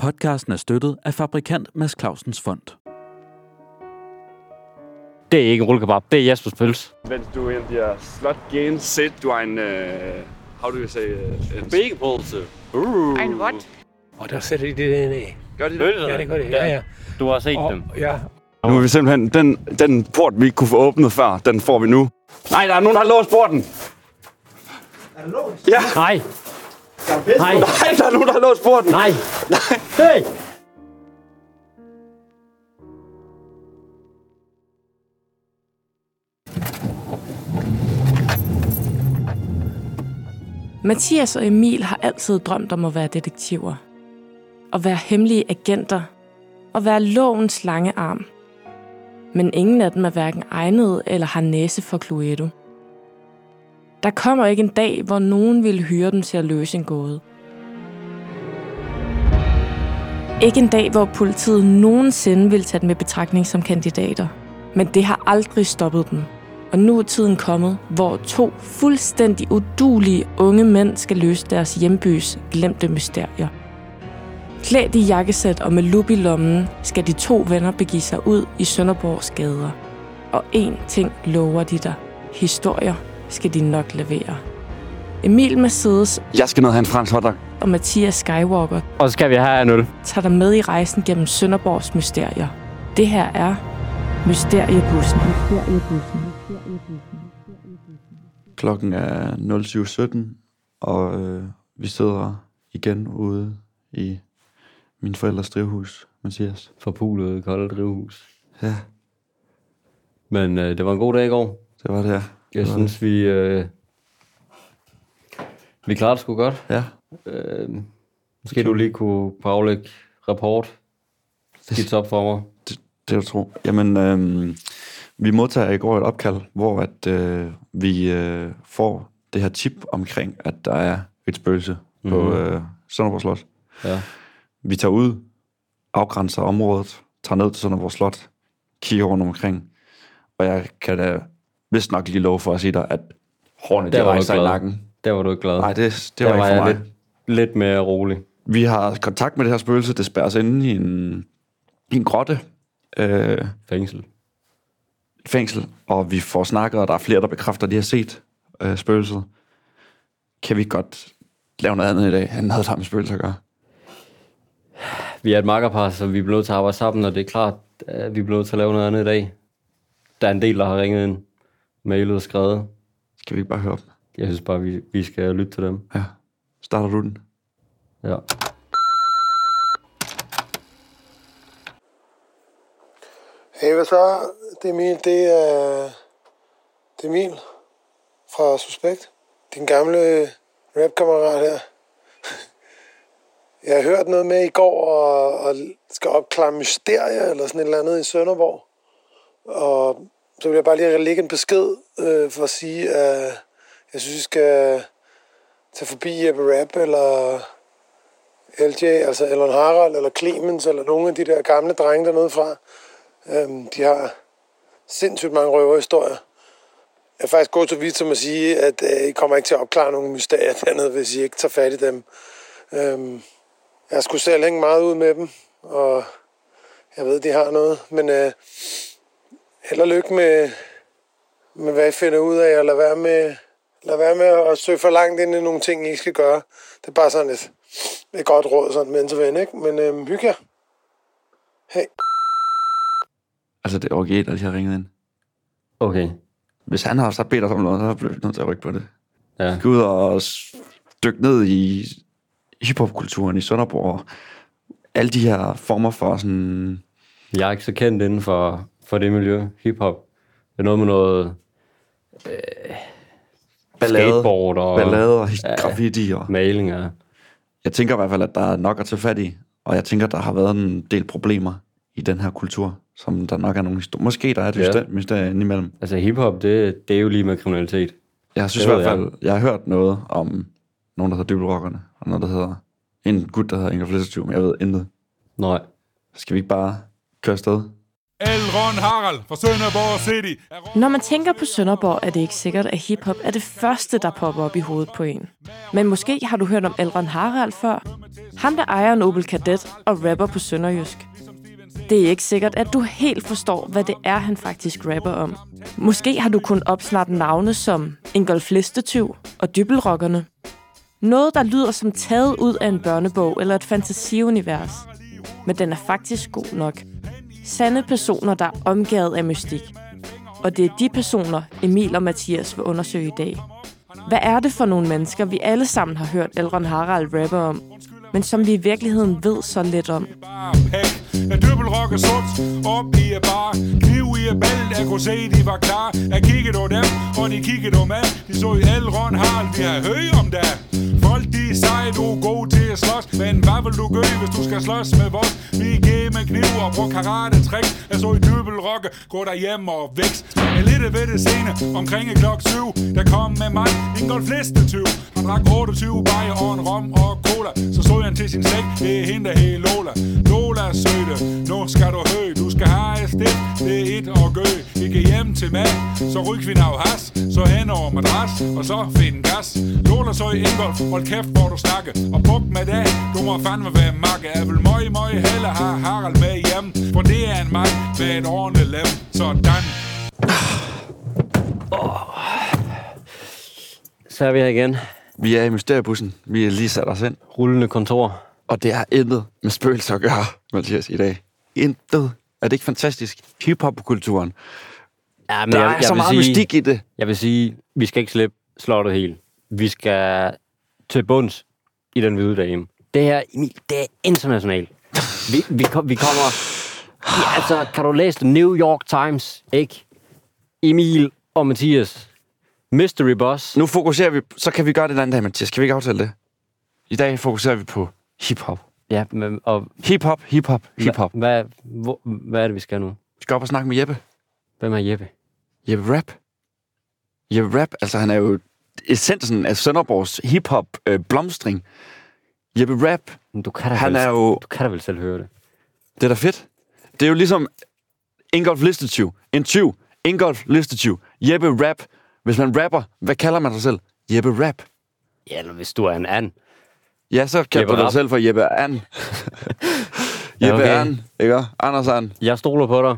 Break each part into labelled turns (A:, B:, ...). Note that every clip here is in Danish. A: Podcasten er støttet af fabrikant Mads Clausens Fond.
B: Det er ikke en rullekebab, det er Jespers pølse.
C: Mens du in der slot gain sit, du er en... Uh, how do you say... Uh, en
B: Bækkepølse.
C: uh.
D: Ein what?
E: Og der sætter de det der ned.
C: Gør de det?
B: Pølse?
E: Ja, det gør det. Ja, ja.
B: Du har set
E: Og,
B: dem.
E: ja.
C: Nu er vi simpelthen... Den, den port, vi ikke kunne få åbnet før, den får vi nu. Nej, der er nogen, der har låst porten.
B: Nej,
C: Nej, Nej der er nogen, der har låst porten.
B: nej. Hey!
F: Mathias og Emil har altid drømt om at være detektiver. At være hemmelige agenter. Og være lovens lange arm. Men ingen af dem er hverken egnet eller har næse for Cluedo. Der kommer ikke en dag, hvor nogen ville hyre dem til at løse en gåde. Ikke en dag, hvor politiet nogensinde ville tage dem i betragtning som kandidater. Men det har aldrig stoppet dem. Og nu er tiden kommet, hvor to fuldstændig udulige unge mænd skal løse deres hjembys glemte mysterier. Klædt i jakkesæt og med lup i lommen, skal de to venner begive sig ud i Sønderborgs gader. Og én ting lover de dig. Historier skal de nok levere. Emil Mercedes
C: Jeg skal ned og have en fransk hotdog.
F: og Mathias Skywalker
B: Og så skal vi have en øl.
F: tager dig med i rejsen gennem Sønderborgs mysterier. Det her er Mysteriebussen.
A: Klokken er 07.17, og øh, vi sidder igen ude i min forældres drivhus, Mathias.
B: Forpulet kolde drivhus.
A: Ja,
B: Men øh, det var en god dag i går.
A: det var det her.
B: Jeg synes, vi... Øh, vi klarede det sgu godt.
A: Ja,
B: Øh, måske du lige kunne aflægge rapport. Skidt op for mig.
A: det er du tro. Jamen, øh, vi modtager i går et opkald, hvor at øh, vi øh, får det her tip omkring, at der er et spøgelse mm-hmm. på øh, Sønderborg Slot.
B: Mhm. Ja.
A: Vi tager ud, afgrænser området, tager ned til Sønderborg Slot, kigger rundt omkring, og jeg kan da vist nok lige love for at sige dig, at hårene
B: Der
A: der
B: var
A: rejser
B: du
A: i
B: glad.
A: nakken.
B: Der var du ikke glad.
A: Nej, det, det
B: Der
A: var ikke for mig.
B: jeg lidt, lidt mere rolig.
A: Vi har kontakt med det her spøgelse, det spærres inde i en, i en grotte, øh,
B: Fængsel.
A: et fængsel, og vi får snakket, og der er flere, der bekræfter, at de har set øh, spøgelset. Kan vi ikke godt lave noget andet i dag? Han havde der med spøgelser at gøre.
B: Vi er et makkerpar, så vi bliver nødt til at arbejde sammen, og det er klart, at vi bliver nødt til at lave noget andet i dag. Der er en del, der har ringet ind, mailet og skrevet.
A: Kan vi ikke bare høre op?
B: Jeg synes bare, vi, vi skal lytte til dem.
A: Ja. Starter du den?
B: Ja.
G: Hey, hvad så? Det er Emil. Det er, det er Emil fra Suspekt. Din gamle rapkammerat her. Jeg har hørt noget med i går, og, og skal opklare mysterier eller sådan et eller andet i Sønderborg. Og så vil jeg bare lige lægge en besked øh, for at sige, at jeg synes, I skal tage forbi Jeppe Rap eller LJ, altså Elon Harald eller Clemens eller nogle af de der gamle drenge dernede fra. Øhm, de har sindssygt mange røverhistorier. Jeg er faktisk gået så vidt som at sige, at øh, I kommer ikke til at opklare nogle mysterier dernede, hvis I ikke tager fat i dem. Øhm, jeg skulle selv hænge meget ud med dem, og jeg ved, de har noget. Men øh, held og lykke med, med, hvad I finder ud af, og lad være med, lad være med at søge for langt ind i nogle ting, I ikke skal gøre. Det er bare sådan et, et godt råd, sådan mens og ven, ikke? Men øh, hygge jer. Hej.
A: Altså, det er originalt, at de har ringet ind.
B: Okay.
A: hvis han har så bedt os om noget, så bliver vi nødt til at rykke på det.
B: Ja.
A: Vi skal ud og s- dykke ned i hiphopkulturen i Sønderborg. Alle de her former for sådan...
B: Jeg er ikke så kendt inden for, for det miljø, hiphop. Det er noget med noget
A: Ballade,
B: skateboard og
A: ballade og ja. graffiti. Og
B: maling. Og,
A: jeg tænker i hvert fald, at der er nok at tage fat i. Og jeg tænker, at der har været en del problemer i den her kultur, som der nok er nogle historier. Måske der er et
B: Ja.
A: ja. mysterie indimellem.
B: altså hiphop, det, det er jo lige med kriminalitet.
A: Jeg synes i
B: Det ved
A: hvert fald, jeg. har hørt noget om nogen, der hedder Dybelrockerne, og noget, der hedder en gut, der hedder Inger Flissertyv, men jeg ved intet.
B: Nej.
A: Skal vi ikke bare køre afsted?
H: Elrond Harald fra Sønderborg City.
F: Når man tænker på Sønderborg, er det ikke sikkert, at hiphop er det første, der popper op i hovedet på en. Men måske har du hørt om Elron Harald før? Ham, der ejer en Opel Kadett og rapper på Sønderjysk. Det er ikke sikkert, at du helt forstår, hvad det er, han faktisk rapper om. Måske har du kun opsnappet navne som Ingolf Listetyv og Dybelrokkerne. Noget, der lyder som taget ud af en børnebog eller et fantasiunivers. Men den er faktisk god nok. Sande personer, der er omgivet af mystik. Og det er de personer, Emil og Mathias vil undersøge i dag. Hvad er det for nogle mennesker, vi alle sammen har hørt Elron Harald rappe om, men som vi i virkeligheden ved så lidt om?
H: Bare pæk Af døbelrock og sort Op i er bar Kniv i er bælt Jeg kunne se de var klar Jeg kiggede over dem Og de kiggede over mig De så i Elrond Harald Vi har hørt om det Folk de sej Du er god til at slås Men hvad vil du gøre Hvis du skal slås med vores Vi giver med kniv Og bruger karate trick Jeg så i døbelrock Gå derhjem og vækst Jeg lidt ved det sene Omkring klok 7 Der kom med mig En godt fleste 20 Han drak 28 bajer Og en rom og cola Så så jeg han til sin slægt Det er hende der hed Lola Lola søde Nu skal du hø Du skal have et stik Det er et og gø Ikke hjem til mad Så ryg vi nav has Så hen over madras Og så find gas Lola så i Ingolf Hold kæft hvor du snakke Og buk med det Du må fandme være makke Jeg vil møj møj hellere have Harald med hjem For det er en mand Med et ordentligt lem Sådan
B: Så er vi her igen.
A: Vi er i mysteriebussen. Vi er lige sat os ind.
B: Rullende kontor.
A: Og det har intet med spøgelser at gøre, Mathias, i dag. Intet. Er det ikke fantastisk? Hip-hop-kulturen.
B: Ja, men
A: Der er så
B: vil
A: meget mystik i det.
B: Jeg vil sige, vi skal ikke slippe slottet helt. Vi skal til bunds i den hvide dame. Det her, Emil, det er internationalt. Vi, vi, kom, vi kommer... Ja, altså, kan du læse The New York Times, ikke? Emil og Mathias. Mystery Boss.
A: Nu fokuserer vi... Så kan vi gøre det en anden dag, Mathias. Kan vi ikke aftale det? I dag fokuserer vi på hip-hop.
B: Ja, men, og
A: Hip-hop, hip-hop, hip-hop.
B: Hvad, hvor, hvad er det, vi skal nu?
A: Vi skal op og snakke med Jeppe.
B: Hvem er Jeppe?
A: Jeppe Rap. Jeppe Rap, altså han er jo essensen af Sønderborgs hip-hop øh, blomstring. Jeppe Rap,
B: Men Du kan da
A: han
B: vel,
A: er jo...
B: Du kan da vel selv høre det.
A: Det er da fedt. Det er jo ligesom Ingolf Listetyv. En tyv. Ingolf Listetyv. Jeppe Rap. Hvis man rapper, hvad kalder man sig selv? Jeppe Rap.
B: Ja, eller hvis du er en and.
A: Ja, så kalder
B: Jeppe
A: du dig
B: Rap.
A: selv for Jeppe An. Jeppe
B: Ja, okay.
A: An, ikke? Anders An.
B: Jeg stoler på dig.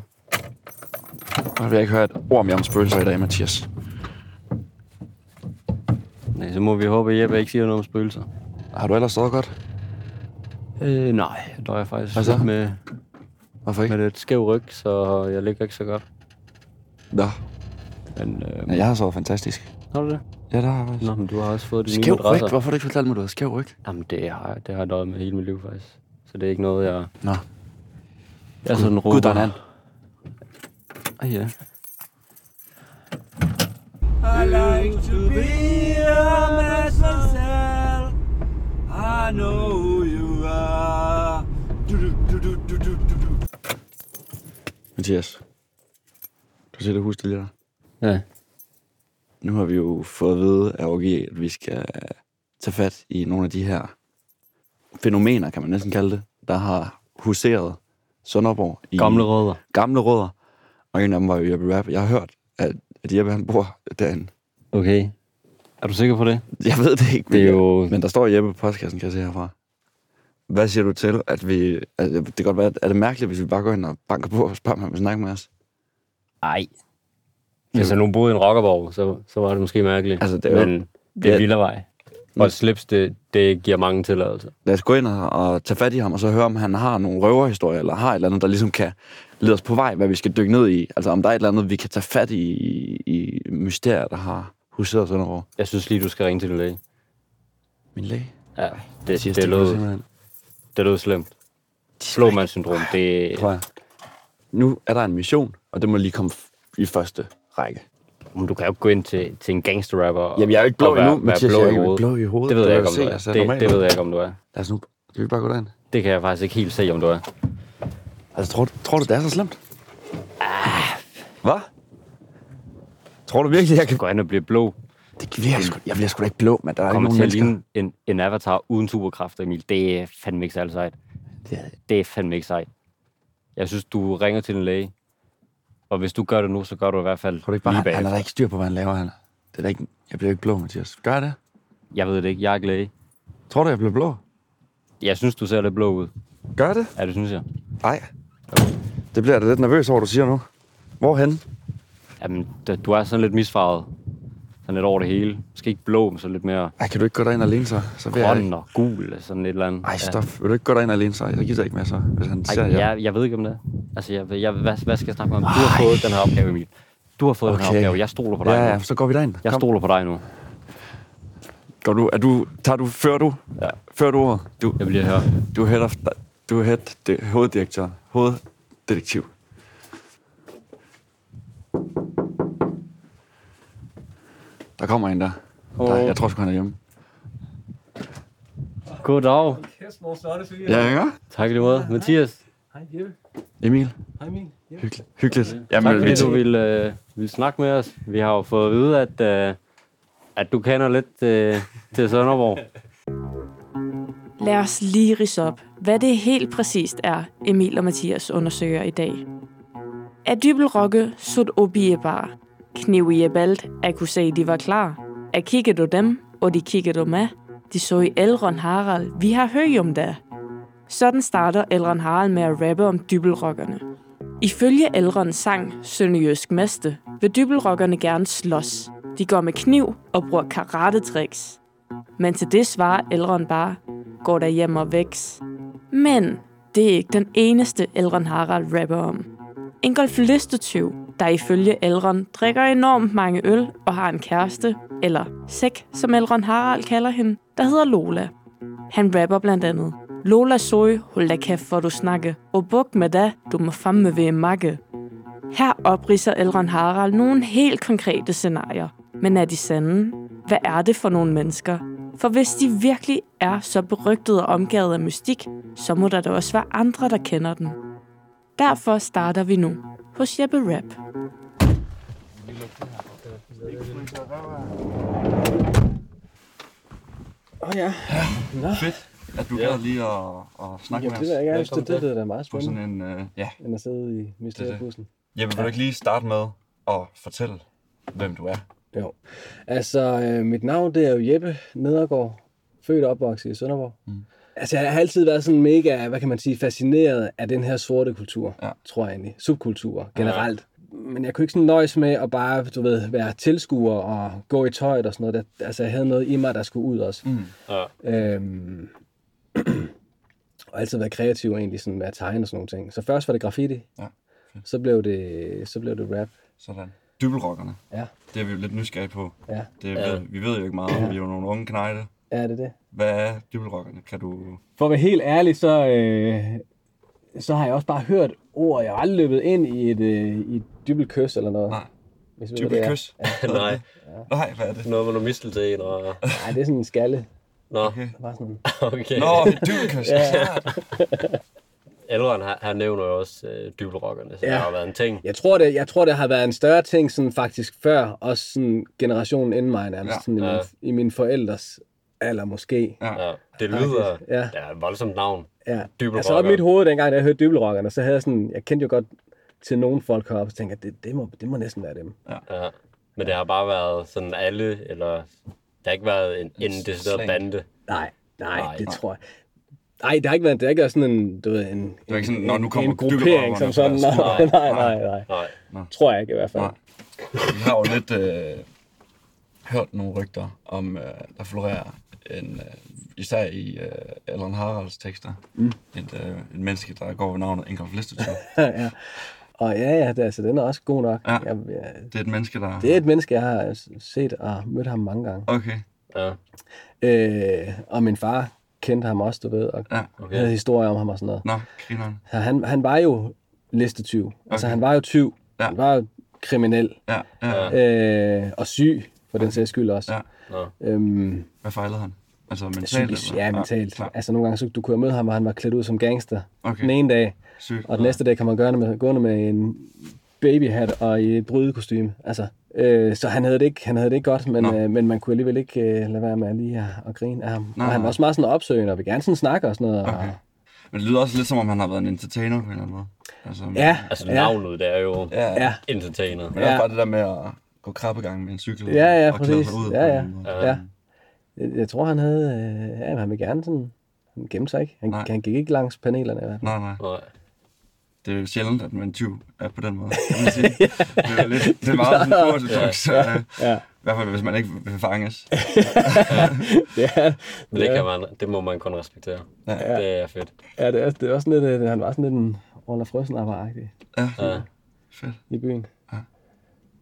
A: Og vi har ikke hørt et ord mere om spøgelser i dag, Mathias.
B: Nej, så må vi håbe, at Jeppe ikke siger noget om spøgelser.
A: Har du ellers stået godt?
B: Øh, nej, der er jeg faktisk
A: Hvad så?
B: lidt med,
A: Hvorfor
B: med
A: ikke?
B: lidt skæv ryg, så jeg ligger ikke så godt.
A: Nå.
B: Men, øh,
A: Ja, jeg har sovet fantastisk.
B: har du det?
A: Ja, der har jeg faktisk.
B: Nå, men du har også fået dine
A: Skæv
B: nye
A: ryg.
B: madrasser.
A: Hvorfor har du ikke fortalt mig, du havde skæv ryg?
B: Jamen, det har, jeg- det har jeg døjet med hele mit liv, faktisk. Så det er ikke noget, jeg...
A: Nå.
B: Jeg er sådan råber.
A: Gud, der er en and.
B: Ah, ja.
A: Mathias. Du ser det hus, det lige der.
B: ja.
A: Nu har vi jo fået at vide af OG, at vi skal tage fat i nogle af de her fænomener, kan man næsten kalde det, der har huseret Sønderborg i
B: Gamle rødder.
A: gamle rødder. Og en af dem var jo Jeppe Rap. Jeg har hørt, at, at Jeppe han bor derinde.
B: Okay. Er du sikker på det?
A: Jeg ved det ikke, men,
B: Det er jo-
A: men der står Jeppe på postkassen, kan jeg se herfra. Hvad siger du til, at vi... At det kan godt være, at- er det mærkeligt, hvis vi bare går ind og banker på og spørger, om han vil snakke med os?
B: Nej. Hvis han nu boede i en rockerborg, så, så var det måske mærkeligt.
A: Altså, det er jo-
B: Men det er
A: Ja.
B: vildervej. Og et slips, det, det giver mange tilladelser.
A: lad os gå ind og- og tage fat i ham, og så høre, om han har nogle røverhistorier, eller har et eller andet, der ligesom kan lede os på vej, hvad vi skal dykke ned i. Altså, om der er et eller andet, vi kan tage fat i, i, i mysterier, der har huseret Sønderborg.
B: Jeg synes lige, du skal ringe til din læge.
A: Min læge?
B: Ja, det, det,
A: Mathias,
B: det,
A: kan jeg
B: lød,
A: simpelthen-
B: det lød slemt. Slåmandssyndrom, det...
A: Prøv at- Nu er der en mission, og det må lige komme f- i første række.
B: Men du kan jo ikke gå ind til, til en gangsterrapper og,
A: Jamen, jeg er jo ikke blå
B: og være,
A: endnu,
B: være
A: Mathias,
B: blå,
A: jeg er
B: i
A: jo ikke
B: hovedet.
A: blå i hovedet.
B: Det ved
A: Det
B: jeg
A: kan
B: ikke, om
A: jeg
B: du
A: se, jeg ser
B: er. Det,
A: normal
B: det
A: ud.
B: ved jeg ikke, om du er.
A: Lad os nu... Skal vi bare gå derind?
B: Det kan jeg faktisk ikke helt se, om du er.
A: Altså, tror, du- tror du, det er så slemt? Ah. Hvad? Tror du virkelig, jeg
B: Du
A: kan...
B: går ind og bliver blå.
A: Det bliver jeg sgu... Jeg bliver sgu da ikke blå, men der er ikke
B: Kommer
A: nogen
B: til at
A: mennesker.
B: ligne en, en avatar uden superkræfter, Emil. Det er fandme ikke særlig sejt.
A: Det er-
B: Det er fandme ikke sejt. Jeg synes, du ringer til en læge. Og hvis du gør det nu, så gør du i hvert fald
A: Tror du ikke
B: lige
A: bare,
B: bag.
A: han har da ikke styr på, hvad han laver, han? Det er da ikke, jeg bliver ikke blå, Mathias. Gør jeg det?
B: Jeg ved det ikke. Jeg er ikke læge.
A: Tror du, jeg bliver blå?
B: Jeg synes, du ser lidt blå ud.
A: Gør jeg det?
B: Ja, det synes jeg.
A: Nej. Det bliver jeg da lidt nervøs over, du siger nu. Hvorhen?
B: Jamen, da- du er sådan lidt misfarvet. Sådan lidt over det hele. Måske ikke blå, men så lidt mere
A: Ej, kan du ikke gå derind alene så? så vil jeg...
B: grøn og gul, eller sådan et eller andet.
A: Ej, stop. Vil du ikke gå derind alene så? Jeg gider ikke med så, hvis han
B: Ja.
A: ser
B: Ej,
A: jer.
B: jeg, jeg ved ikke om det. Altså, jeg, jeg, hvad, hvad skal jeg snakke med om? Du har fået den her opgave, Emil. Du har fået okay. den her
A: Okay.
B: opgave. Jeg stoler på dig
A: Ja,
B: nu.
A: ja, så går vi derind.
B: Jeg
A: Kom.
B: stoler på dig nu.
C: Går du, er du, tager du, fører du?
B: Ja.
C: Fører du ordet? Du,
B: Jeg bliver her.
C: du er head of, du er head, det, hoveddirektør, hoveddetektiv.
A: Der kommer en der. der jeg tror sgu, han er hjemme.
B: Goddag.
E: Kæft, mor flotte fyre.
A: Ja, ikke?
B: Tak i lige måde. Mathias,
E: Hej, Jeppe.
A: Emil,
E: Hej, min.
A: hyggeligt. hyggeligt.
B: tak
A: Jamen,
B: fordi
A: vi,
B: du ville, øh, ville snakke med os. Vi har jo fået at vide, at, øh, at du kender lidt øh, til Sønderborg.
F: Lad os lige rise op, hvad det helt præcist er, Emil og Mathias undersøger i dag. Er dybelrokke sut obiebar, kniv i balt, at kunne se, de var klar, at kigge du dem, og de kigge du med, de så i Elron Harald, vi har hørt om det. Sådan starter Elron Harald med at rappe om dybelrokkerne. Ifølge Elrons sang Sønderjysk Meste vil dybelrokkerne gerne slås. De går med kniv og bruger karate-tricks. Men til det svarer Elron bare, går der hjem og væks. Men det er ikke den eneste Elron Harald rapper om. En golflistetyv, der ifølge Elron drikker enormt mange øl og har en kæreste, eller sæk, som Elron Harald kalder hende, der hedder Lola. Han rapper blandt andet. Lola Soy, hold da kæft, hvor du snakke. Og buk med da, du må famme ved en makke. Her opridser Elron Harald nogle helt konkrete scenarier. Men er de sande? Hvad er det for nogle mennesker? For hvis de virkelig er så berygtede og omgivet af mystik, så må der da også være andre, der kender den. Derfor starter vi nu hos Jeppe Rap.
A: at du gad lige at, at snakke med os.
I: jeg gerne, det, det, det er da meget
A: På sådan en, øh, ja.
I: end at sidde i mysteriebussen.
A: Jeppe, vil du ikke lige starte med at fortælle, hvem du er?
I: Jo. Altså, øh, mit navn det er jo Jeppe Nedergaard, født og opvokset i Sønderborg. Mm. Altså, jeg har altid været sådan mega, hvad kan man sige, fascineret af den her sorte kultur,
A: Ja.
I: ja. tror jeg egentlig. Subkulturer generelt. Men jeg kunne ikke sådan nøjes med at bare, du ved, være tilskuer og gå i tøjet og sådan noget. Der- Altså, jeg havde noget i mig, der skulle ud også. Mm. Ja. Øhm, og altid været kreativ egentlig, sådan med at tegne og sådan nogle ting. Så først var det graffiti.
A: Ja.
I: Så blev det, så blev det rap.
A: Sådan. Dybelrockerne.
I: Ja.
A: Det er vi jo lidt nysgerrige på.
I: Ja.
A: Det ved, vi ved jo ikke meget om. Vi er jo nogle unge knejde.
I: Ja, det er det.
A: Hvad er dybelrockerne? Kan du...
I: For at være helt ærlig, så, øh, så har jeg også bare hørt ord. Jeg har aldrig løbet ind i et, øh, i et dybbelt kys eller noget.
A: Nej.
I: Hvis I ved, hvad det er.
A: Dybelkys?
J: Nej,
A: Nej, hvad er det?
J: noget med noget mistelten og...
I: Nej, det er sådan en skalle.
J: Nå,
I: Bare sådan.
J: okay.
A: Nå, dybelkys.
J: Elrond, han, han nævner jo også øh, dybelrockerne, så ja.
I: Ja.
J: det har været en ting.
I: Jeg tror, det, jeg tror, det har været en større ting sådan faktisk før, også sådan generationen inden mig nærmest,
A: Ja.
I: ja. sådan i,
J: Ja.
I: min, i mine forældres alder måske.
J: Ja. Det lyder...
I: Ja.
J: Ja. et voldsomt navn.
I: Ja.
J: Dybbelrocker.
I: Altså op i mit hoved, dengang da jeg hørte dybbelrockerne, så havde jeg sådan, jeg kendte jo godt til nogle folk heroppe, og tænkte, at det, det, må, det må næsten være dem.
J: Ja. Men det har bare været sådan alle, eller... Der har ikke været en, en decideret
A: slang.
J: bande.
I: Nej, nej,
J: Nej.
I: nej, det tror jeg. Nej, det har ikke været, det har ikke været sådan en, du ved, en, det
A: var ikke sådan,
I: en,
A: "Nå, nu kommer
I: en gruppering
A: dykkerrockerne
I: som sådan.
A: fra
I: Nej,
J: skolen."
I: nej, nej, nej.
J: Nej.
I: Tror jeg ikke i hvert fald.
A: Nej. Vi har jo lidt øh, hørt nogle rygter om, øh, der florerer en, øh, især i øh, Allan Haralds tekster, mm. et, øh, et menneske, der går ved navnet Ingolf Listetur.
I: ja. Og ja, ja, det, altså, den er også god nok.
A: Ja.
I: Jeg, jeg,
A: Det er et menneske, der...
I: det er et menneske, jeg har set og mødt ham mange gange.
A: Okay.
J: Ja.
I: Øh, og min far kendte ham også, du ved, og
A: Ja.
I: okay. havde historier om ham og sådan noget.
A: Nå, grineren.
I: Så Han, han var jo listetyv. Okay. Altså,
A: Okay.
I: han var jo tyv.
A: Ja.
I: Ja. Han var jo kriminel.
A: Ja, ja. ja.
I: Øh, og syg, for den sags skyld også.
A: Ja.
J: Nå.
I: Øhm,
A: Hvad fejlede han? Altså mentalt?
I: Psykisk,
A: eller?
I: ja, mentalt.
A: klar.
I: altså nogle gange, så du kunne jo møde ham, hvor han var klædt ud som gangster
A: Okay.
I: den ene dag,
A: Sygt.
I: og den næste dag kan man gøre det med, gående med en babyhat og i et brydekostyme. Altså, øh, så han havde, det ikke, han havde det ikke godt, men,
A: Nå.
I: øh, men man kunne alligevel ikke øh, lade være med lige at, at grine af ham.
A: Nå,
I: Nå, og han
A: nej.
I: var også meget sådan opsøgende, og vil gerne sådan snakke og sådan noget.
A: Okay.
I: Okay.
A: Men det lyder også lidt som om, han har været en entertainer på en eller anden måde.
K: Altså,
I: Ja,
L: Altså
I: ja,
L: navnet, det er jo
K: ja, ja.
I: ja,
L: entertainer.
K: Men det er
I: Ja.
K: også bare det der med at gå krabbegang med en cykel
I: Ja, ja,
K: og klæde sig
I: præcis.
K: ud.
I: Ja,
K: på
I: ja.
K: en måde.
I: ja. Jeg, jeg tror, han havde... Øh, ja, han ville gerne sådan... Han gemte sig ikke. Han,
K: Nej.
I: han gik ikke langs panelerne i hvert fald.
K: Nej, nej.
L: Nej.
K: Det er jo sjældent, at man tyv er på den måde. Kan man sige. det er jo lidt, det er meget sådan ortodok, så ja. i hvert fald, hvis man ikke vil fanges.
I: Ja,
L: Men det, kan man, det må man kun respektere.
K: Ja.
L: Det er fedt.
I: ja det, er, det er også sådan lidt... øh, Han var sådan lidt en Ola Frøsnapper-agtig
K: Ja,
L: Ja.
K: fedt.
I: i byen.
K: Ja.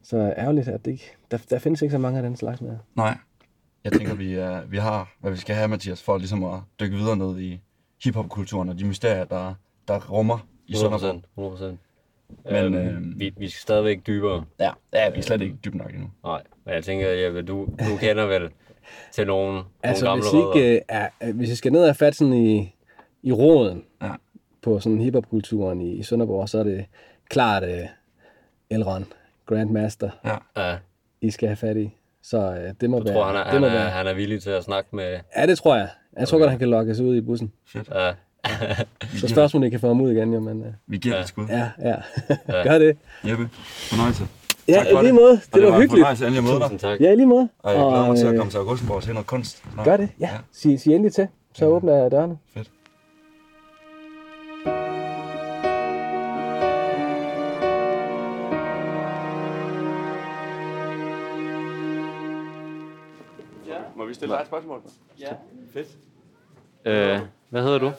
I: Så ærgerligt, at det ikke... Der, der findes ikke så mange af den slags mere.
K: Nej. Jeg tænker, vi, uh, vi har, hvad vi skal have, Mathias, for ligesom at dykke videre ned i hiphopkulturen og de mysterier, der, der rummer i
L: 100%.
K: Sønderborg.
L: 100%.
K: Men,
L: Men
K: øhm,
L: øh, vi, vi skal stadigvæk dybere.
K: Ja, ja, vi er slet ikke dybt nok endnu.
L: Nej, men jeg tænker, Jeppe, du, du kender vel til nogle,
I: Altså,
L: nogle gamle
I: hvis
L: rødder.
I: ikke... Øh, er, er- hvis jeg skal ned og fat sådan i, i roden
K: Ja.
I: på sådan hiphopkulturen i, i Sønderborg, så er det klart øh, Elron, Grandmaster,
L: Ja,
I: I skal have fat i. Så øh, det må
L: du
I: være...
L: tror, han er,
I: det
L: han,
I: må
L: er,
I: være.
L: han er villig til at snakke med...
I: Ja, det tror jeg. Jeg tror godt, han kan lokkes ud i bussen.
L: Ja,
I: Så spørgsmålet om I kan få ham ud igen, jo, men øh,
K: Vi giver ja. det et skud.
I: ja, ja. Gør det.
K: Jeppe, fornøjelse.
I: Ja,
K: Tak for
I: i lige måde. Det,
K: Og det
I: var hyggeligt.
K: var en fornøjelse endelig at møde
L: tusind
K: dig.
L: tak.
I: Ja, i lige måde.
K: Og jeg glæder mig til at
I: øh,
K: komme til Augustenborg og se noget kunst. Nå,
I: Gør det, ja. Sig, sig endelig til. Så åbner jeg dørene.
A: Må vi stille dig et spørgsmål?
B: Øh, hvad hedder du?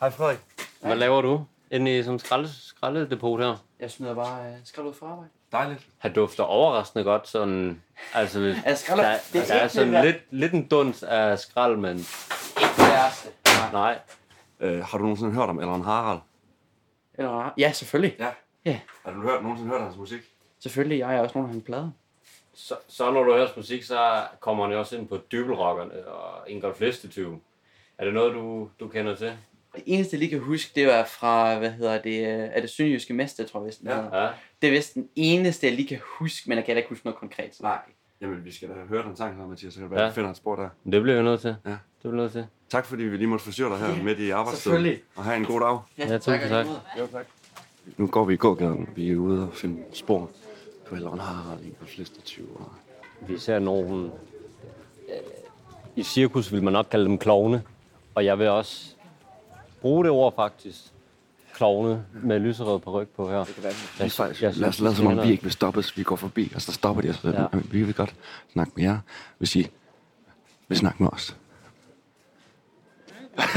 K: Hej Frederik.
B: Hvad laver du? Inde i sådan en skralde, skraldedepot her.
M: Jeg smider bare øh, skrald ud fra arbejde.
K: Dejligt.
B: Han dufter overraskende godt, sådan... Altså, lidt,
M: Ja, skrald-
B: der,
M: det er
B: der er
M: ikke
B: sådan
M: det, hvad-
B: lidt, lidt en duns af skrald, men
M: Kæreste.
B: nej.
A: Øh, har du nogensinde hørt om Elron Harald?
M: Eller, ja, selvfølgelig.
K: Ja.
M: Ja.
K: Har du hørt, nogensinde hørt hans musik?
M: Selvfølgelig, jeg er også nogen af hans plader.
B: Så, så når du hører hans musik, så kommer han jo også ind på dybelrockerne og Ingolf Listetyve. Er det noget, du, du kender til?
M: Det eneste, jeg lige kan huske, det var fra, hvad hedder det, øh, er det Sønderjyske Mester, tror jeg, vist den
K: Ja.
M: hedder.
B: Ja.
M: Det er vist den eneste, jeg lige kan huske, men jeg kan da ikke huske noget konkret.
K: Nej. Jamen, vi skal da høre den sang her, Mathias. Så kan det være,
B: Ja.
K: ja. finder et spor der.
B: Det bliver vi nødt til.
K: Ja.
B: Det bliver vi nødt til.
A: Tak fordi vi lige måtte forstyrre dig her midt i
M: selvfølgelig.
A: arbejdsstedet. Og have en god dag.
B: Ja, tusind tak.
A: Nu går vi i gågaden. Vi er ude og finde spor på Elron Harald i på fleste 20 år.
B: Vi ser nogle... øh, I cirkus vil man nok kalde dem klovne. Og jeg vil også bruge det ord faktisk. Klovne med lyserød peruk på her. Det kan være, jeg,
A: Faktisk, lad os lade som om, vi ikke vil stoppes. Vi går forbi, og så stopper de os. Ja.
B: Ja.
A: Vi vil godt snakke med jer, hvis I vil snakke med os.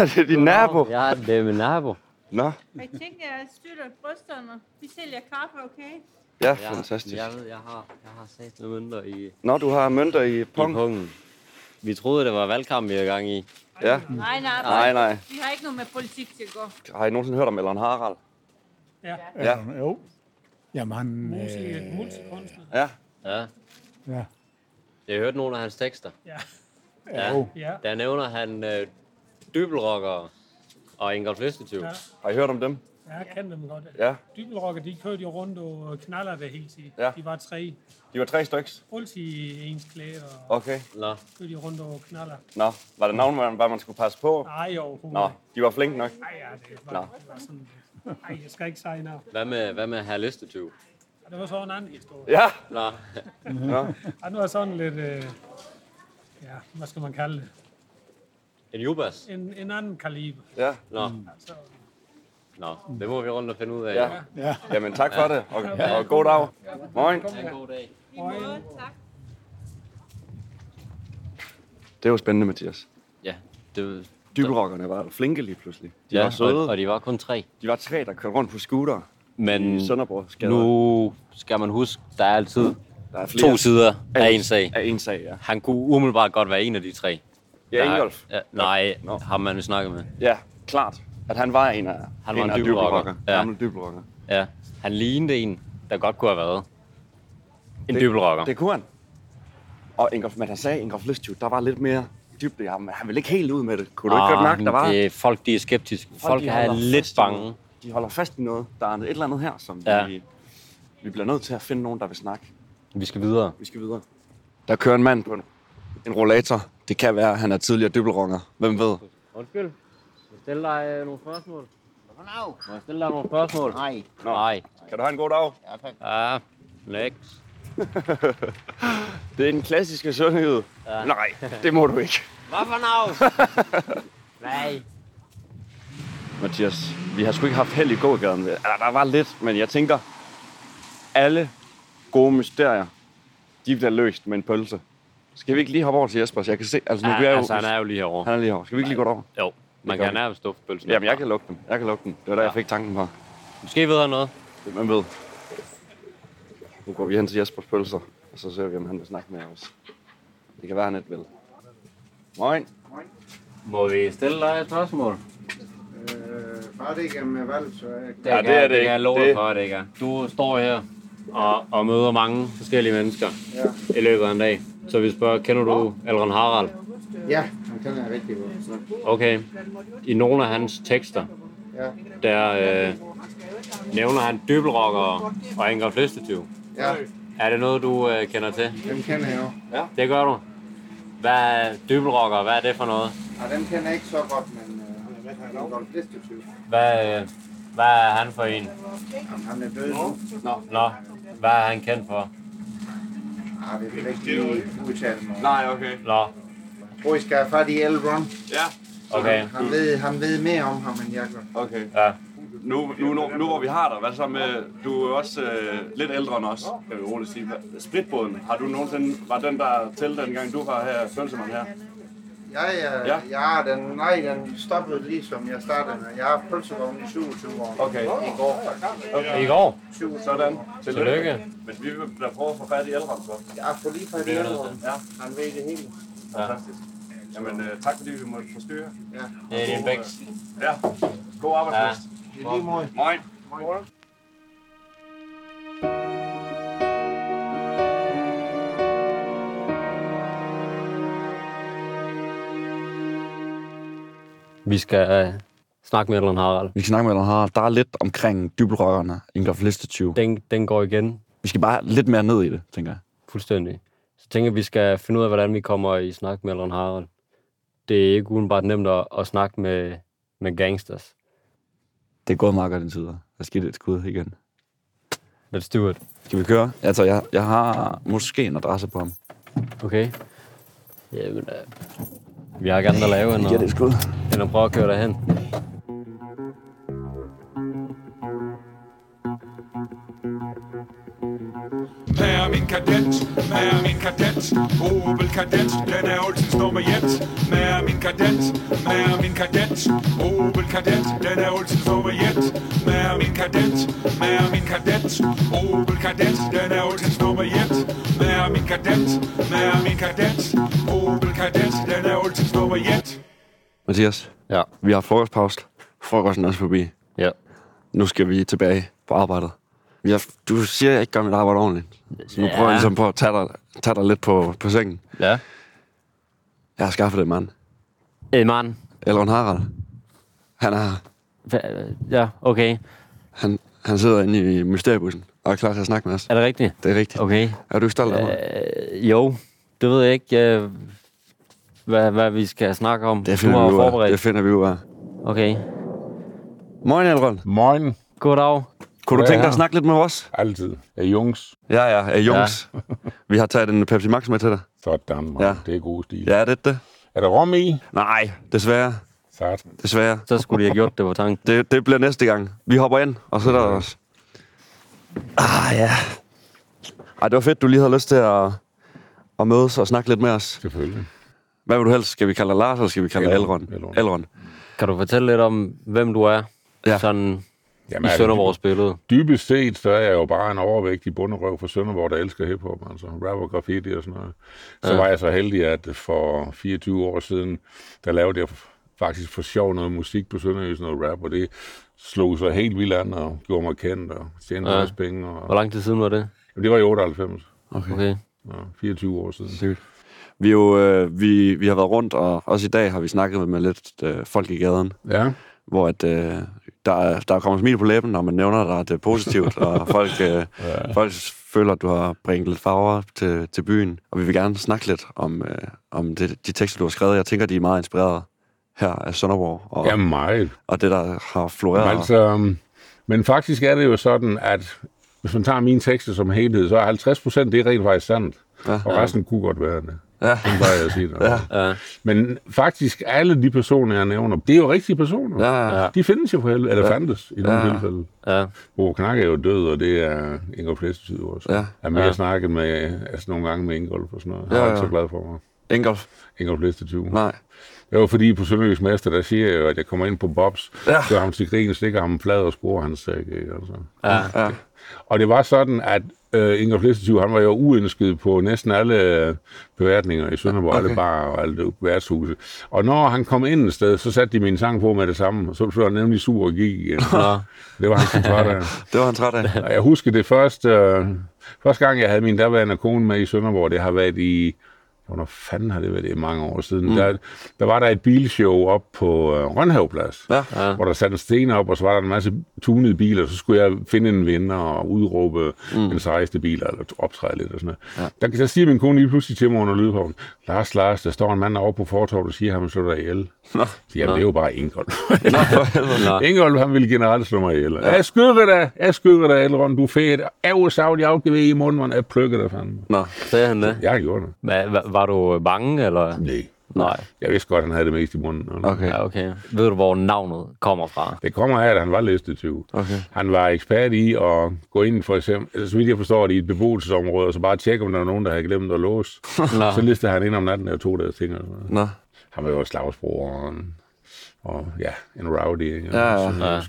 A: det er din nabo.
B: Ja, det er min nabo.
A: Nå,
N: Jeg tænkte, at jeg støtter brysterne. Vi sælger kaffe, okay?
A: ja, fantastisk.
B: Jeg ved, jeg har, jeg har sat noget mindre i, i
A: Nå, du har mønter i pong.
B: pungen. Vi troede, det var valgkamp, vi var i gang i.
A: Ja.
N: Nej, nej,
A: Nej, nej.
N: Vi har ikke noget med politik til at gå.
A: Har I nogensinde hørt om Elron Harald?
H: Ja. Jo. Jamen, han... Øh,
A: Ja.
B: Ja.
H: ja.
B: Jeg hørte nogle af hans tekster.
H: ja. Jo.
B: Der nævner han øh, dybelrockere og Ingolf Listetyv. Ja.
A: Har I hørt om dem?
H: Ja, jeg kender dem godt.
A: Ja.
H: Dybelrocker, de kørte jo rundt og knaller det hele tiden.
A: Ja.
H: De var tre.
A: De var tre stykker.
H: Altid i ens klæde, og
A: Okay.
B: Nå,
H: kørte de rundt og knaller.
A: Nå, var det navn, man, hvad man skulle passe på?
H: Nej, overhovedet.
A: Nå, de var flinke nok.
H: Nej, ja, det var, det var sådan... Nej, jeg skal ikke sige noget.
B: hvad med, hvad med herr Listetyv?
H: Og Det var så en anden historie.
A: Ja.
B: Nå,
H: Og nu er sådan lidt... Øh, ja, hvad skal man kalde det?
B: en jubas?
H: En, en anden kaliber.
A: Ja.
B: Nå.
H: Altså,
B: Nå, det må vi rundt og finde ud af.
A: Ja. Jamen, tak for det, og, og god dag. Morgen.
N: I måde, tak.
A: Det var spændende, Mathias.
B: ja det,
A: Dybelrockerne var flinke lige pludselig. De
B: ja,
A: var søde.
B: Og, og de var kun tre.
A: De var tre, der kørte rundt på scooter
B: Men
A: i Sønderborg. Skader.
B: nu skal man huske, der er altid
A: der er
B: to sider af en sag.
A: Af en sag, ja.
B: Han kunne umiddelbart godt være en af de tre.
A: Ja,
B: Der-
A: Ingolf.
B: Ja, nej,
A: Nå.
B: ham man snakket med.
A: Ja, klart. At han var en af,
B: Han
A: en
B: var en
A: af
B: dybelrocker. Ja.
A: Gammel dybelrocker.
B: Ja, han lignede en, der godt kunne have været. En dybelrocker.
A: Det kunne han. Og Ingolf, men han sagde, Ingolf Listew, der var lidt mere dybde i ham. men Han ville ikke helt ud med det. Kunne du ikke godt mærke, der var?
B: Ah, det er folk, de er skeptiske. Folk, folk
A: de
B: er
A: holder
B: lidt
A: fast i
B: bange.
A: noget. De holder fast i noget. Der er et eller andet her, som
B: Ja.
A: ja. vi, vi bliver nødt til at finde nogen, der vil snakke.
B: Vi skal videre.
A: Vi skal videre. Der kører en mand på en, en rollator. Det kan være, at han er tidligere dybelronger. Hvem ved?
B: Undskyld. Stil dig nogle spørgsmål.
M: Goddag.
B: Må jeg stille dig nogle spørgsmål?
M: Nej.
A: Nå.
B: Nej.
A: Kan du have en god dag?
M: Ja, tak.
B: Ja, next.
A: Det er den klassiske sundhed.
B: Ja.
A: Ja. Nej, det må du ikke.
B: Hvad for navn? Nej.
A: Mathias, vi har sgu ikke haft held i gågaden. Eller, der var lidt, men jeg tænker, alle gode mysterier, de bliver løst med en pølse. Skal vi ikke lige hoppe over til Jesper? Så jeg kan se, altså nu
B: Ja,
A: vi er jo,
B: altså, han er jo lige herovre.
A: Han er lige herovre. Skal vi ikke lige gå derover?
B: Jo, man
A: gør
B: kan
A: vi.
B: nærmest dufte pølsen.
A: Jamen, jeg kan lukke dem. Jeg kan lukke dem. Det var der,
B: Ja.
A: ja. jeg fik tanken på.
B: Måske ved han noget.
A: Det, man ved. Nu går vi hen til Jespers pølser, og så ser vi, om han vil snakke med os. Det kan være, han ikke vil. Moin.
B: Må vi stille dig et spørgsmål?
M: Øh, bare det ikke er med valg, så er jeg
B: Det kan, det kan jeg love dig for, at det ikke er. Du står her og, og møder mange forskellige mennesker ja. i løbet af en dag. Så vi spørger, kender du Elrond Harald?
M: Ja, han kender jeg rigtig godt.
B: Okay. I nogle af hans tekster,
M: Ja.
B: der øh, nævner han dybelrockere og Ingrid Lystetyv.
M: Ja,
B: Er det noget, du øh, kender til?
M: dem kender jeg jo.
B: Ja. Det gør du. Hvad er dybelrockere? Hvad er det for noget?
M: Ja, dem kender jeg ikke så godt, men øh, han er med, han er godt destruktiv.
B: Hvad, øh, hvad er han for en?
M: Jamen, han er død nu. Nå.
B: Nå, hvad er han kendt for?
M: Ja, Ah, det vil jeg ikke lige udtale mig.
B: Nej, okay. Nå,
M: Prøv, I skal have fat i Elrond.
A: Ja.
B: okay.
M: Han ved, han ved mere om ham, end jeg gør.
A: Okay.
B: Ja.
A: Nu, nu, nu, nu hvor vi har dig, hvad så med, du er jo også øh, lidt ældre end os, kan vi roligt sige. Hvad- Spritbåden, har du nogensinde, var den der til dengang du var her, Søndermann her?
M: Jeg, øh, ja.
A: Ja.
M: ja, den, nej, den stoppede lige som jeg startede med. Jeg har haft pølsevogn i 27 år.
A: Okay.
M: I går faktisk.
B: I går?
M: 27.
A: Sådan.
B: Tillykke.
A: Hvis vi vil da prøve at få fat i Elrond så.
M: Jeg har fået lige fat i
A: Bliver du nødt
M: Elrond.
A: til. Ja.
M: Han ved det hele.
A: Fantastisk. Jamen, øh, tak fordi vi måtte forstyrre. øh,
M: Ja.
B: Det er din bæks.
A: Ja. God arbejdsfest.
M: I lige måde.
A: Moin.
M: Moin.
O: Vi skal øh, snakke med Elrond Harald.
P: Vi kan snakke med Elrond Harald. Der er lidt omkring dybelrøkkerne, Ingolf Listetyv.
O: Den, den går igen.
P: Vi skal bare lidt mere ned i det, tænker jeg.
O: Fuldstændig. Så tænker jeg, vi skal finde ud af, hvordan vi kommer i snak med Elrond Harald. Det er ikke udenbart nemt at, at snakke med, med gangsters.
P: Det er gået meget godt indtil videre. Jeg skal give det et skud igen.
O: Let's do it.
P: Skal vi køre? Altså, jeg, jeg har måske en adresse på ham.
O: Okay? Jamen, øh, vi har ikke andet at lave end
P: Ja, det er skud.
O: end at prøve at køre derhen.
Q: Hvad er min kadet? Hvad er min kadet? Opel kadet, den er altid nummer et. Hvad er min kadet? Hvad er min kadet? Opel kadet, den er altid nummer et. Hvad er min kadet? Hvad er min kadet? Opel kadet, den er altid nummer et. Hvad er min kadet? Hvad er min kadet? Opel kadet, den er altid nummer et.
A: Mathias,
O: ja.
A: vi har frokostpause. Frokosten er også forbi.
O: Ja.
A: Nu skal vi tilbage på arbejdet. Jeg, du siger, at jeg ikke gør mit arbejde ordentligt. Så nu
O: Ja.
A: prøver jeg ligesom på at tage dig, tage dig lidt på, på sengen.
O: Ja.
A: Jeg har skaffet en mand.
O: En mand?
A: Elrond Harald. Han er her.
O: Ja, okay.
A: Han, han sidder inde i mysteriebussen og er klar til at snakke med os.
O: Er det rigtigt?
A: Det er rigtigt.
O: Okay.
A: Er du ikke stolt af mig?
O: Øh, jo, det ved jeg ikke, øh, hvad, hvad vi skal snakke om.
A: Det finder
O: du har
A: vi ud af.
O: forberedt.
A: Det finder vi ud af.
O: Okay.
A: Moin, Elrond.
H: Moin.
O: Goddag.
A: Kunne du tænke dig at snakke lidt med os?
H: Altid. Er jungs.
A: Ja, ja, er jungs.
H: Ja.
A: vi har taget en Pepsi Max med til dig.
H: Sådan, man.
A: Ja.
H: Det er god stil.
A: Ja, er det det?
H: Er der rom i?
A: Nej, desværre.
H: Sat.
A: Desværre.
O: Så skulle de have gjort det, var tanken.
A: Det, det bliver næste gang. Vi hopper ind og sætter okay. os. Ah, ja. Ej, det var fedt, du lige havde lyst til at, at mødes og snakke lidt med os.
H: Selvfølgelig.
A: Hvad vil du helst? Skal vi kalde dig Lars, eller skal vi kalde dig Elrond? Elrond.
O: Kan du fortælle lidt om, hvem du er?
A: Ja.
O: Sådan
H: Jamen,
O: i
H: er det-
O: Sønderborgs billede.
H: Dybest set, så er jeg jo bare en overvægtig bunderøv fra Sønderborg, der elsker hiphop, altså rap og graffiti og sådan noget. Så
O: Ja.
H: ja. var jeg så heldig, at for 24 år siden, der lavede jeg faktisk for sjov noget musik på Sønderjysk, noget rap, og det slog sig helt vildt an og gjorde mig kendt og tjente
O: Ja.
H: ja. også penge. Og...
O: Hvor lang tid siden var det?
H: Jamen, det var i 98.
O: Okay. okay.
H: Ja, 24 år siden.
A: Sygt. Vi, er jo, øh, vi, vi har været rundt, og også i dag har vi snakket med, med lidt øh, folk i gaden.
H: Ja.
A: Hvor at, øh, der, er- der kommer smil på læben, når man nævner dig, at det er positivt, og folk, øh, ja. folk føler, at du har bringet lidt farver til, til byen. Og vi vil gerne snakke lidt om, øh, om det, de tekster, du har skrevet. Jeg tænker, de er meget inspireret her af Sønderborg. Og,
H: Ja, meget.
A: Og det, der har floreret.
H: Men, altså, men faktisk er det jo sådan, at hvis man tager mine tekster som helhed, så er 50 procent det er rent faktisk sandt. Ja, og
A: ja.
H: resten kunne godt være det.
A: Ja.
H: Det plejer jeg at sige dig. Ja. Men faktisk alle de personer, jeg nævner, det er jo rigtige personer.
A: Ja,
H: De findes jo på helvede, eller
A: Ja.
H: fandtes i nogle
A: Ja.
H: tilfælde. Ja. Hvor Knak er jo død, og det er Ingolf Læstetid også.
A: Ja.
H: Jamen, jeg har
A: Ja.
H: snakket med, altså nogle gange med Ingolf og sådan noget. Han
A: Ja,
H: var
A: ja.
H: ikke så glad for mig.
A: Ingolf?
H: Ingolf Læstetid.
A: Nej.
H: Det var fordi på Sønderjysk Mester, der siger jeg jo, at jeg kommer ind på Bobs, ja. gør ham til grin, stikker ham flad og scorer hans sæk. Ikke? Altså.
A: Ja. ja.
H: Og det var sådan, at øh, Ingolf Listetiv, han var jo uønsket på næsten alle øh, beværtninger i Sønderborg, okay. alle barer og alle værtshuse. Og når han kom ind et sted, så satte de min sang på med det samme, og så blev han nemlig sur og gik igen.
A: Nå.
H: det var han så træt af.
A: Det var han træt af.
H: Og jeg husker det første, øh, første gang, jeg havde min daværende kone med i Sønderborg, det har været i, hvornår fanden har det været i mange år siden, mm. der, der var der et bilshow op på øh, Rønhavplads, ja. hvor der satte en sten op, og så var der en masse tunede biler, og så skulle jeg finde en vinder og udråbe mm. den sejeste bil, eller optræde lidt og sådan noget. Ja. Der, der siger min kone lige pludselig til mig under lydpåven, Lars, Lars, der står en mand over på fortorvet og siger, at han vil slå dig ihjel. Nå. Jamen, det er jo bare Ingolf. Ingolf, han ville generelt slå mig ihjel. Ja. Jeg skyder dig, jeg skyder dig, Elrond, du er fed. Au, savl, jeg afgivet i munden, man. jeg plukker dig fandme.
B: Nå, sagde han det?
H: Jeg gjorde det.
B: Hva, hva, var du bange, eller?
H: Nej.
B: Nej.
H: Jeg vidste godt, han havde det mest i munden. Eller?
B: Okay. Ja, okay. Ved du, hvor navnet kommer fra?
H: Det kommer af, at han var listetyv. Okay. Han var ekspert i at gå ind, for eksempel, altså, så vidt jeg forstår det, i et beboelsesområde, og så bare tjekke, om der var nogen, der havde glemt at låse.
A: Nå.
H: så listede han ind om natten, og tog deres ting. Og sådan noget.
A: Nå.
H: Han var jo et slagsbror, og, en- og ja, en rowdy. Ikke?
A: Ja,
H: Og sådan
A: ja. ja.
H: noget.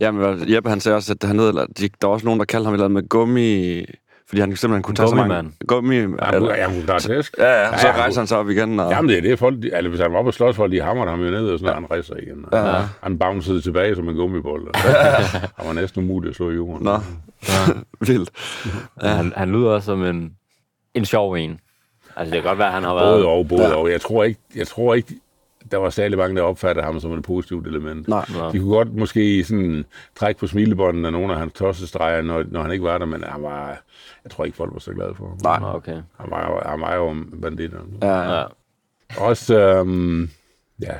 A: Jamen, hvad- Jeppe han sagde også, at han hed, de, der var også nogen, der kaldte ham et eller andet med gummi... Fordi han simpelthen kunne tage så mange... Gummi,
H: Ja,
A: eller-
H: ja, hun er tæsk.
A: Ja, ja, så rejser
H: han
A: sig op igen. Og...
H: Jamen, det er det. Folk, de, altså, hvis han var oppe og slås, folk de hammer ham jo ned, og sådan, ja. han rejser igen.
A: Ja, ja.
H: Han bouncede tilbage som en gummibold. Og, ja. han var næsten umulig at slå i jorden. Nå.
A: Vildt.
B: Ja. Han, han lyder også som en, en sjov en. Altså, det kan godt være, at han har været...
H: Både og, både ja. og. Jeg tror ikke, jeg tror ikke der var særlig mange, der opfattede ham som et positivt element.
A: Nej.
H: De kunne godt måske sådan trække på smilebånden af nogle af hans tossestreger, når, når han ikke var der, men han var, jeg tror ikke, folk var så glade for ham.
B: Nej. Okay.
H: Han var, jo- han var jo banditter.
A: Ja,
B: ja.
H: Også, øhm, ja,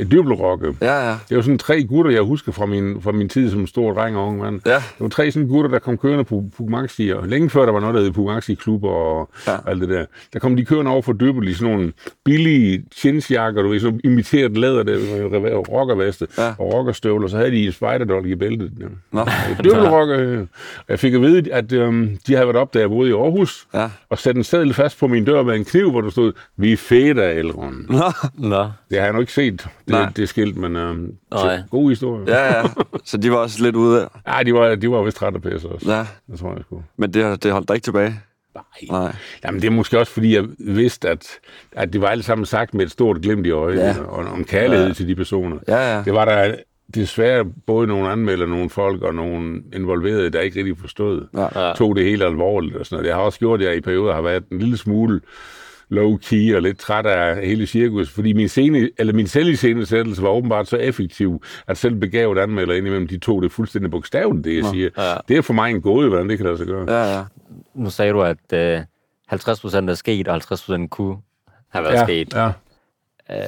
H: et dybelrokke.
A: Ja, ja.
H: Det var sådan tre gutter, jeg husker fra min, fra min tid som stor dreng og ung mand.
A: Ja.
H: Det var tre sådan gutter, der kom kørende på Pumaxi, og længe før der var noget, der hed Pumaxi klubber og ja. alt det der. Der kom de kørende over for døbel i sådan nogle billige jeansjakker, du ved, sådan nogle imiteret læder, der var jo rockerveste ja. og rockerstøvler, så havde de en spiderdolk i bæltet. Ja.
A: Nå.
H: Døbelrocker. Jeg fik at vide, at øhm, de havde været op, da jeg boede i Aarhus,
A: ja.
H: og sat en seddel fast på min dør med en kniv, hvor der stod, vi er fede af Elrond.
A: Nå.
B: Nå.
H: Det har jeg nok ikke set,
A: Nej.
H: det, det skilt, men øhm,
A: Nej.
H: t- god historie.
A: Ja, ja. Så de var også lidt ude af...
H: Ja, de var, de var vist trætte af pisse også.
A: Ja.
H: Det tror jeg sgu.
A: Men det, det holdt dig ikke tilbage?
H: Nej. Nej. Jamen, det er måske også, fordi jeg vidste, at, at det var alt sammen sagt med et stort glimt i øjet,
A: Ja.
H: ja. og om kærlighed
A: Ja.
H: ja. til de personer.
A: Ja, ja.
H: Det var der desværre både nogle anmelder, nogle folk og nogle involverede, der ikke rigtig forstod,
A: Ja.
H: tog det helt alvorligt og sådan noget. Det har også gjort, at jeg i perioder har været en lille smule low-key og lidt træt af hele cirkus, fordi min, scene, eller min selviscenesættelse var åbenbart så effektiv, at selv begavet anmelder indimellem, de tog det fuldstændig bogstaveligt, det jeg
B: Nå.
H: siger.
B: Ja.
H: Det er for mig en gåde, hvordan det kan lade sig gøre.
A: Ja, ja.
B: Nu sagde du, at øh, 50 procent er sket, og 50 procent kunne have været
H: Ja,
B: sket.
H: ja.
B: Øh,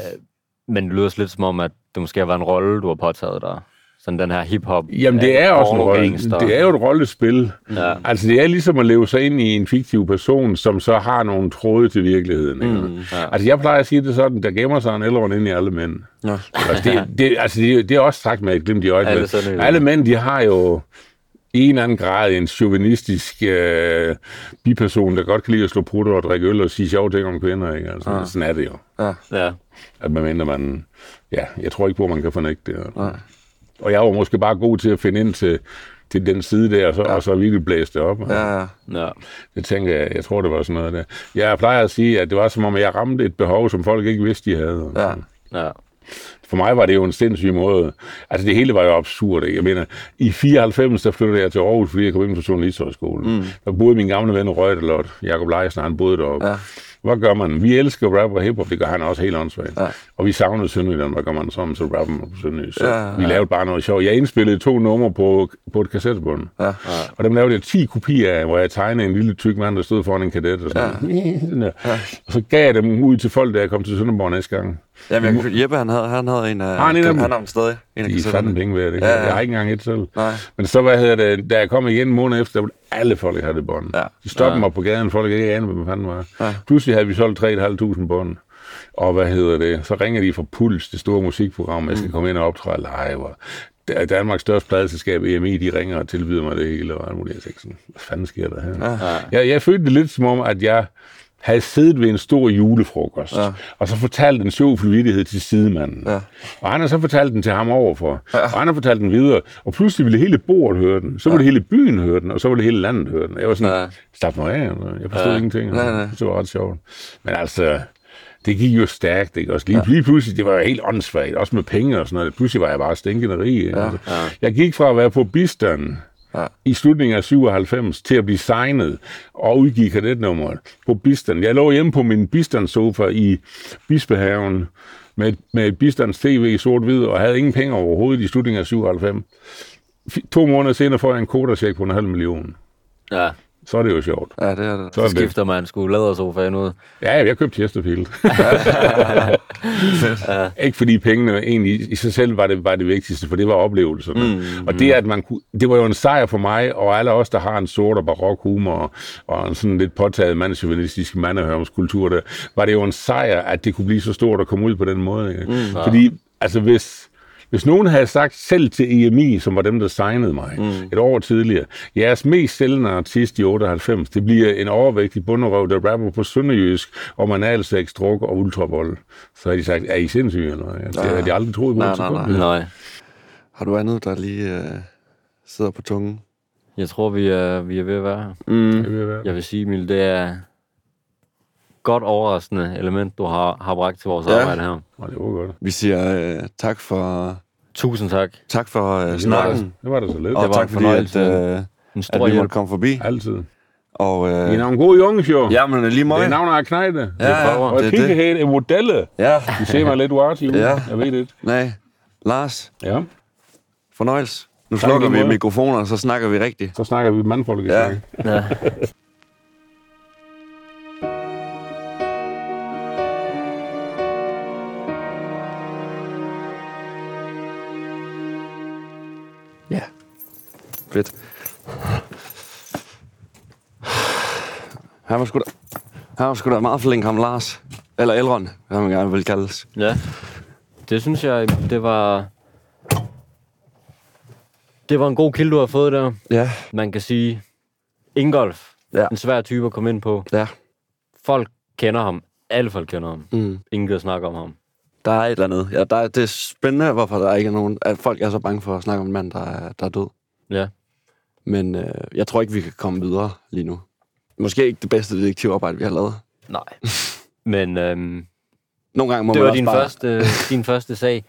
B: men det lyder også lidt som om, at det måske har været en rolle, du har påtaget dig. Sådan den her hip-hop.
H: Jamen, det
B: øh,
H: er også en rolle.
B: pornogangster.
H: Det er jo et rollespil.
B: Ja.
H: Altså, det er ligesom at leve sig ind i en fiktiv person, som så har nogle tråde til virkeligheden. Ikke?
B: Mm, ja.
H: Altså, jeg plejer at sige det sådan, der gemmer sig en elrond ind i alle mænd.
A: Ja.
H: Altså, det, det, altså, det, det er også sagt med et glimt i øjet.
B: Alle
H: men
B: sønderjyder.
H: alle mænd, de har jo i en eller anden grad en chauvinistisk øh, biperson, der godt kan lide at slå prutter og drikke øl og sige sjove ting om kvinder. Ikke? Altså,
A: Ja.
H: Sådan er det jo.
A: Ja.
B: ja.
H: At man mindre man... Ja, jeg tror ikke på, at man kan fornægte det. Og jeg var måske bare god til at finde ind til, til den side der, og så, ja. og så virkelig blæse det op.
A: Ja, ja.
B: ja.
H: Det tænker jeg, jeg tror, det var sådan noget der. Jeg plejer at sige, at det var som om, jeg ramte et behov, som folk ikke vidste, de havde.
A: Ja.
B: Ja.
H: For mig var det jo en sindssyg måde. Altså, det hele var jo absurd. Ikke? Jeg mener, i 94, der flyttede jeg til Aarhus, fordi jeg kom ind på Journalisthøjskolen.
A: Mm.
H: Mm. Der boede min gamle ven Røgtelot, Jakob Leisner, han boede deroppe.
A: Ja.
H: Ja. Hvad gør man? Vi elsker rap og hiphop, det gør han også helt åndssvagt.
A: Ja.
H: Og vi savnede Sønderjylland, hvad gør man så, så rapper man på Sønderjylland. Så
A: Ja, ja,
H: vi
A: ja.
H: lavede bare noget sjovt. Jeg indspillede to numre på, på et kassettebånd.
A: Ja.
H: Og dem lavede jeg 10 kopier af, hvor jeg tegnede en lille tyk mand, der stod foran en kadet. Og, sådan. Ja. og så gav jeg dem ud til folk, da jeg kom til Sønderborg næste gang.
A: Jamen, jeg, kan følge- Jeppe, han havde, han havde en af...
H: Har han en af dem?
A: Han har dem stadig. En af
H: De er
A: kassetterne.
H: fandme penge værd. Det.
A: Ja,
H: Ja,
A: ja.
H: Jeg har ikke engang et selv.
A: Nej.
H: Men så, hvad hedder det, da jeg kom igen en måned efter, der ville alle folk have det bånd. Ja. De stoppede
A: Ja.
H: mig på gaden, folk ikke anede, hvad fanden var. Ja. Pludselig havde vi solgt 3.500 bånd. Og hvad hedder det? Så ringer de fra Puls, det store musikprogram, jeg skal
A: Mm.
H: komme ind og optræde live. Og Da- Danmarks største pladeselskab, EMI, de ringer og tilbyder mig det hele. Og alt muligt. Jeg tænkte sådan, hvad fanden sker der her?
A: Ja.
H: Jeg, jeg følte det lidt som om, at jeg havde siddet ved en stor julefrokost, ja. og så fortalt en sjov vittighed til sidemanden. Ja. Og han har så fortalt den til ham overfor, ja. og han har fortalt den videre, og pludselig ville hele bordet høre den, så ville hele byen høre den, og så ville hele landet høre den. Jeg var sådan, ja. slap nu af, jeg forstod
A: Ja.
H: ja. ingenting.
A: Nej, nej.
H: Det var ret sjovt. Men altså, det gik jo stærkt, ikke? Også lige, ja. lige pludselig, det var jo helt åndssvagt, også med penge og sådan noget. Pludselig var jeg bare stinkende rig. Ikke? Ja. Altså, jeg gik fra at være på bistanden ja. i slutningen af 97 til at blive signet og udgive kadetnummeret på bistanden. Jeg lå hjemme på min bistandssofa i Bispehaven med, med bistands TV i sort-hvid og havde ingen penge overhovedet i slutningen af 97. F- To måneder senere får jeg en kodacheck på en halv million.
B: Ja.
H: Så er det jo sjovt.
A: Ja, det er det.
H: Så er
B: Så
H: det.
B: skifter man sgu lædersofaen ud.
H: Ja, jeg købte Chesterfield. Ikke fordi pengene egentlig i sig selv var det, var det vigtigste, for det var oplevelserne.
A: Mm,
H: Mm, og det, at man kunne, det var jo en sejr for mig, og alle os, der har en sort og barok humor, og, og en sådan lidt påtaget mandsjuvenistisk mandehørmskultur, der, var det jo en sejr, at det kunne blive så stort at komme ud på den måde. Ikke?
A: Mm.
H: Mm, fordi, altså hvis... Hvis nogen havde sagt selv til EMI, som var dem, der signede mig mm. et år tidligere, jeres mest sælgende artist i 98, det bliver en overvægtig bunderøv, der rapper på sønderjysk om analsex, altså druk og ultravold. Så havde de sagt, er I sindssyge eller hvad? Det havde de aldrig troet på.
A: nej,
H: et
A: nej, nej,
H: sekund.
A: nej. Har du andet, der lige øh, sidder på tungen?
B: Jeg tror, vi er, vi er ved at være her.
A: Mm.
B: Jeg vil sige, Emil, det er godt overraskende element, du har, har bragt til vores
A: Ja.
B: ja. arbejde her.
H: Og det var godt.
A: Vi siger øh, tak for...
B: Tusind tak.
A: Tak for øh,
B: Det var da-
A: snakken.
H: det var da så lidt.
A: Og
H: Det var
A: tak
H: en
A: fordi, at,
H: fornøjelse.
A: øh,
H: En
B: stor
A: at vi måtte
H: hjælp.
A: komme forbi.
H: Altid.
A: Og, øh,
H: I er nogle gode jungs, jo.
A: Jamen, lige meget.
H: Det er navnet af knejde.
A: Ja, ja,
H: og
A: det er
H: det,
A: det.
H: det. er modelle.
A: Ja.
H: De ser mig lidt warty ud.
A: Ja.
H: Ja. Jeg ved det.
A: Nej, Lars.
H: Ja.
A: Fornøjelse. Nu
H: Tak i
A: slukker
H: lige
A: vi
H: måde.
A: mikrofoner, og så snakker vi rigtigt.
H: Så snakker vi mandfolk.
A: Ja.
B: ja.
A: Ja. Fedt. Han var sgu da, han var sgu da meget flink, ham Lars. Eller Elrond, hvad man gerne vil kaldes.
B: Ja. Det synes jeg, det var... Det var en god kilde, du har fået der.
A: Ja.
B: Man kan sige, Ingolf,
A: ja.
B: en svær type at komme ind på.
A: Ja.
B: Folk kender ham. Alle folk kender ham.
A: Mm.
B: Ingen gider snakke om ham.
A: Der er et eller andet. Ja, der er, det er spændende, hvorfor der ikke er nogen... At folk er så bange for at snakke om en mand, der er, der er død.
B: Ja.
A: Men øh, jeg tror ikke, vi kan komme videre lige nu. Måske ikke det bedste detektivarbejde, vi har lavet.
B: Nej. Men øhm,
A: Nogle gange må
B: det
A: man
B: var
A: også
B: din
A: bare...
B: første, din første sag,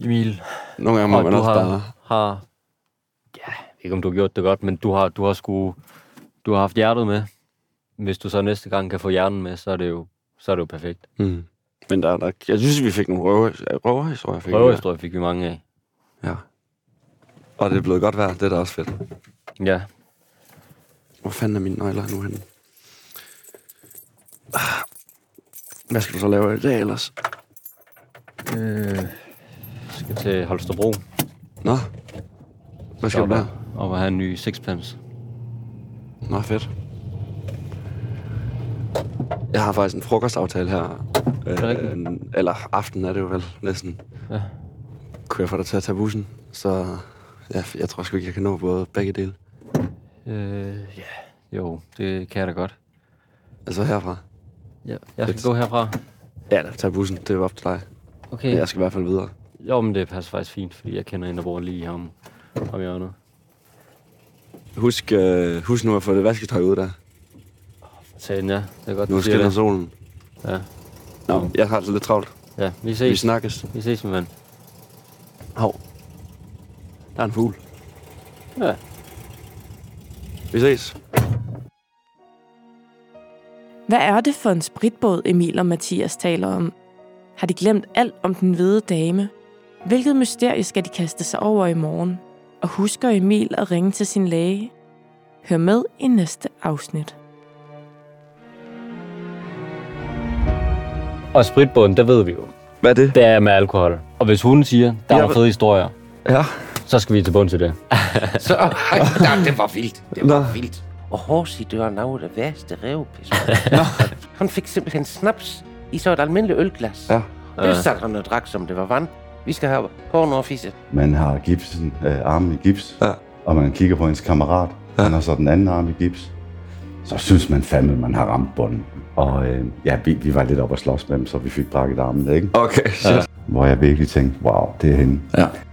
B: Emil.
A: Nogle gange må
B: Og
A: man
B: du
A: også
B: har,
A: bare-
B: har, ja, jeg ved ikke om du har gjort det godt, men du har, du har sgu, du har haft hjertet med. Hvis du så næste gang kan få hjernen med, så er det jo, så er det jo perfekt.
A: Mm. Men der, er der, jeg synes, vi fik nogle røver, røverhistorier. Fik vi.
B: Røverhistorier fik vi mange af.
A: Ja. Og det er blevet godt værd. Det er da også fedt.
B: Ja.
A: Hvor fanden er mine nøgler nu henne? Ah. Hvad skal du så lave i dag ellers?
B: Øh, skal til Holstebro.
A: Nå. Hvad skal du der?
B: Og have en ny sixpence.
A: Nå, fedt. Jeg har faktisk en frokostaftale her. Øh, en- eller aften er det jo vel næsten.
B: Ja.
A: Kunne jeg få dig til at tage bussen? Så ja, jeg tror sgu ikke, jeg kan nå både begge dele.
B: Øh, ja. Jo, det kan jeg da godt.
A: Altså herfra.
B: Ja, jeg skal gå herfra.
A: Ja, da, tag bussen. Det er jo op til dig.
B: Okay.
A: Men jeg skal i hvert fald videre.
B: Jo, men det passer faktisk fint, fordi jeg kender en, der bor lige her om, om hjørnet.
A: Husk, øh, husk nu at få det vasketøj ud der.
B: Sagen, ja. Det er godt,
A: Nu
B: du siger
A: skinner
B: det.
A: solen.
B: Ja.
A: Nå, jeg har altså lidt travlt.
B: Ja, vi ses.
A: Vi snakkes.
B: Vi ses, min ven.
A: Hov. Der er en fugl.
B: Ja.
A: Vi ses.
F: Hvad er det for en spritbåd, Emil og Mathias taler om? Har de glemt alt om den hvide dame? Hvilket mysterie skal de kaste sig over i morgen? Og husker Emil at ringe til sin læge? Hør med i næste afsnit.
B: Og spritbåden, der ved vi jo.
A: Hvad er det?
B: Det er med alkohol. Og hvis hun siger, der
A: Ja,
B: er
A: hva-
B: fede historier,
A: ja.
B: så skal vi til bunds i det.
M: Så, ej, nej, det var vildt. Det var vildt. Og Horsi, det var noget af det værste revpis. Han fik simpelthen snaps i så et almindeligt ølglas.
H: Ja.
B: Øh.
M: Det satte han og drak, som det var vand. Vi skal have porno og fisse.
H: Man har gipsen, øh, armen i gips, ja. og man kigger på ens kammerat, ja. han har så den anden arm i gips. Så synes man fandme, man har ramt bunden. Og øh, ja, vi, vi var lidt op at slås med dem, så vi fik brækket armen, ikke?
A: Okay, shit.
H: Hvor jeg virkelig tænkte, wow, det er hende.
A: Ja.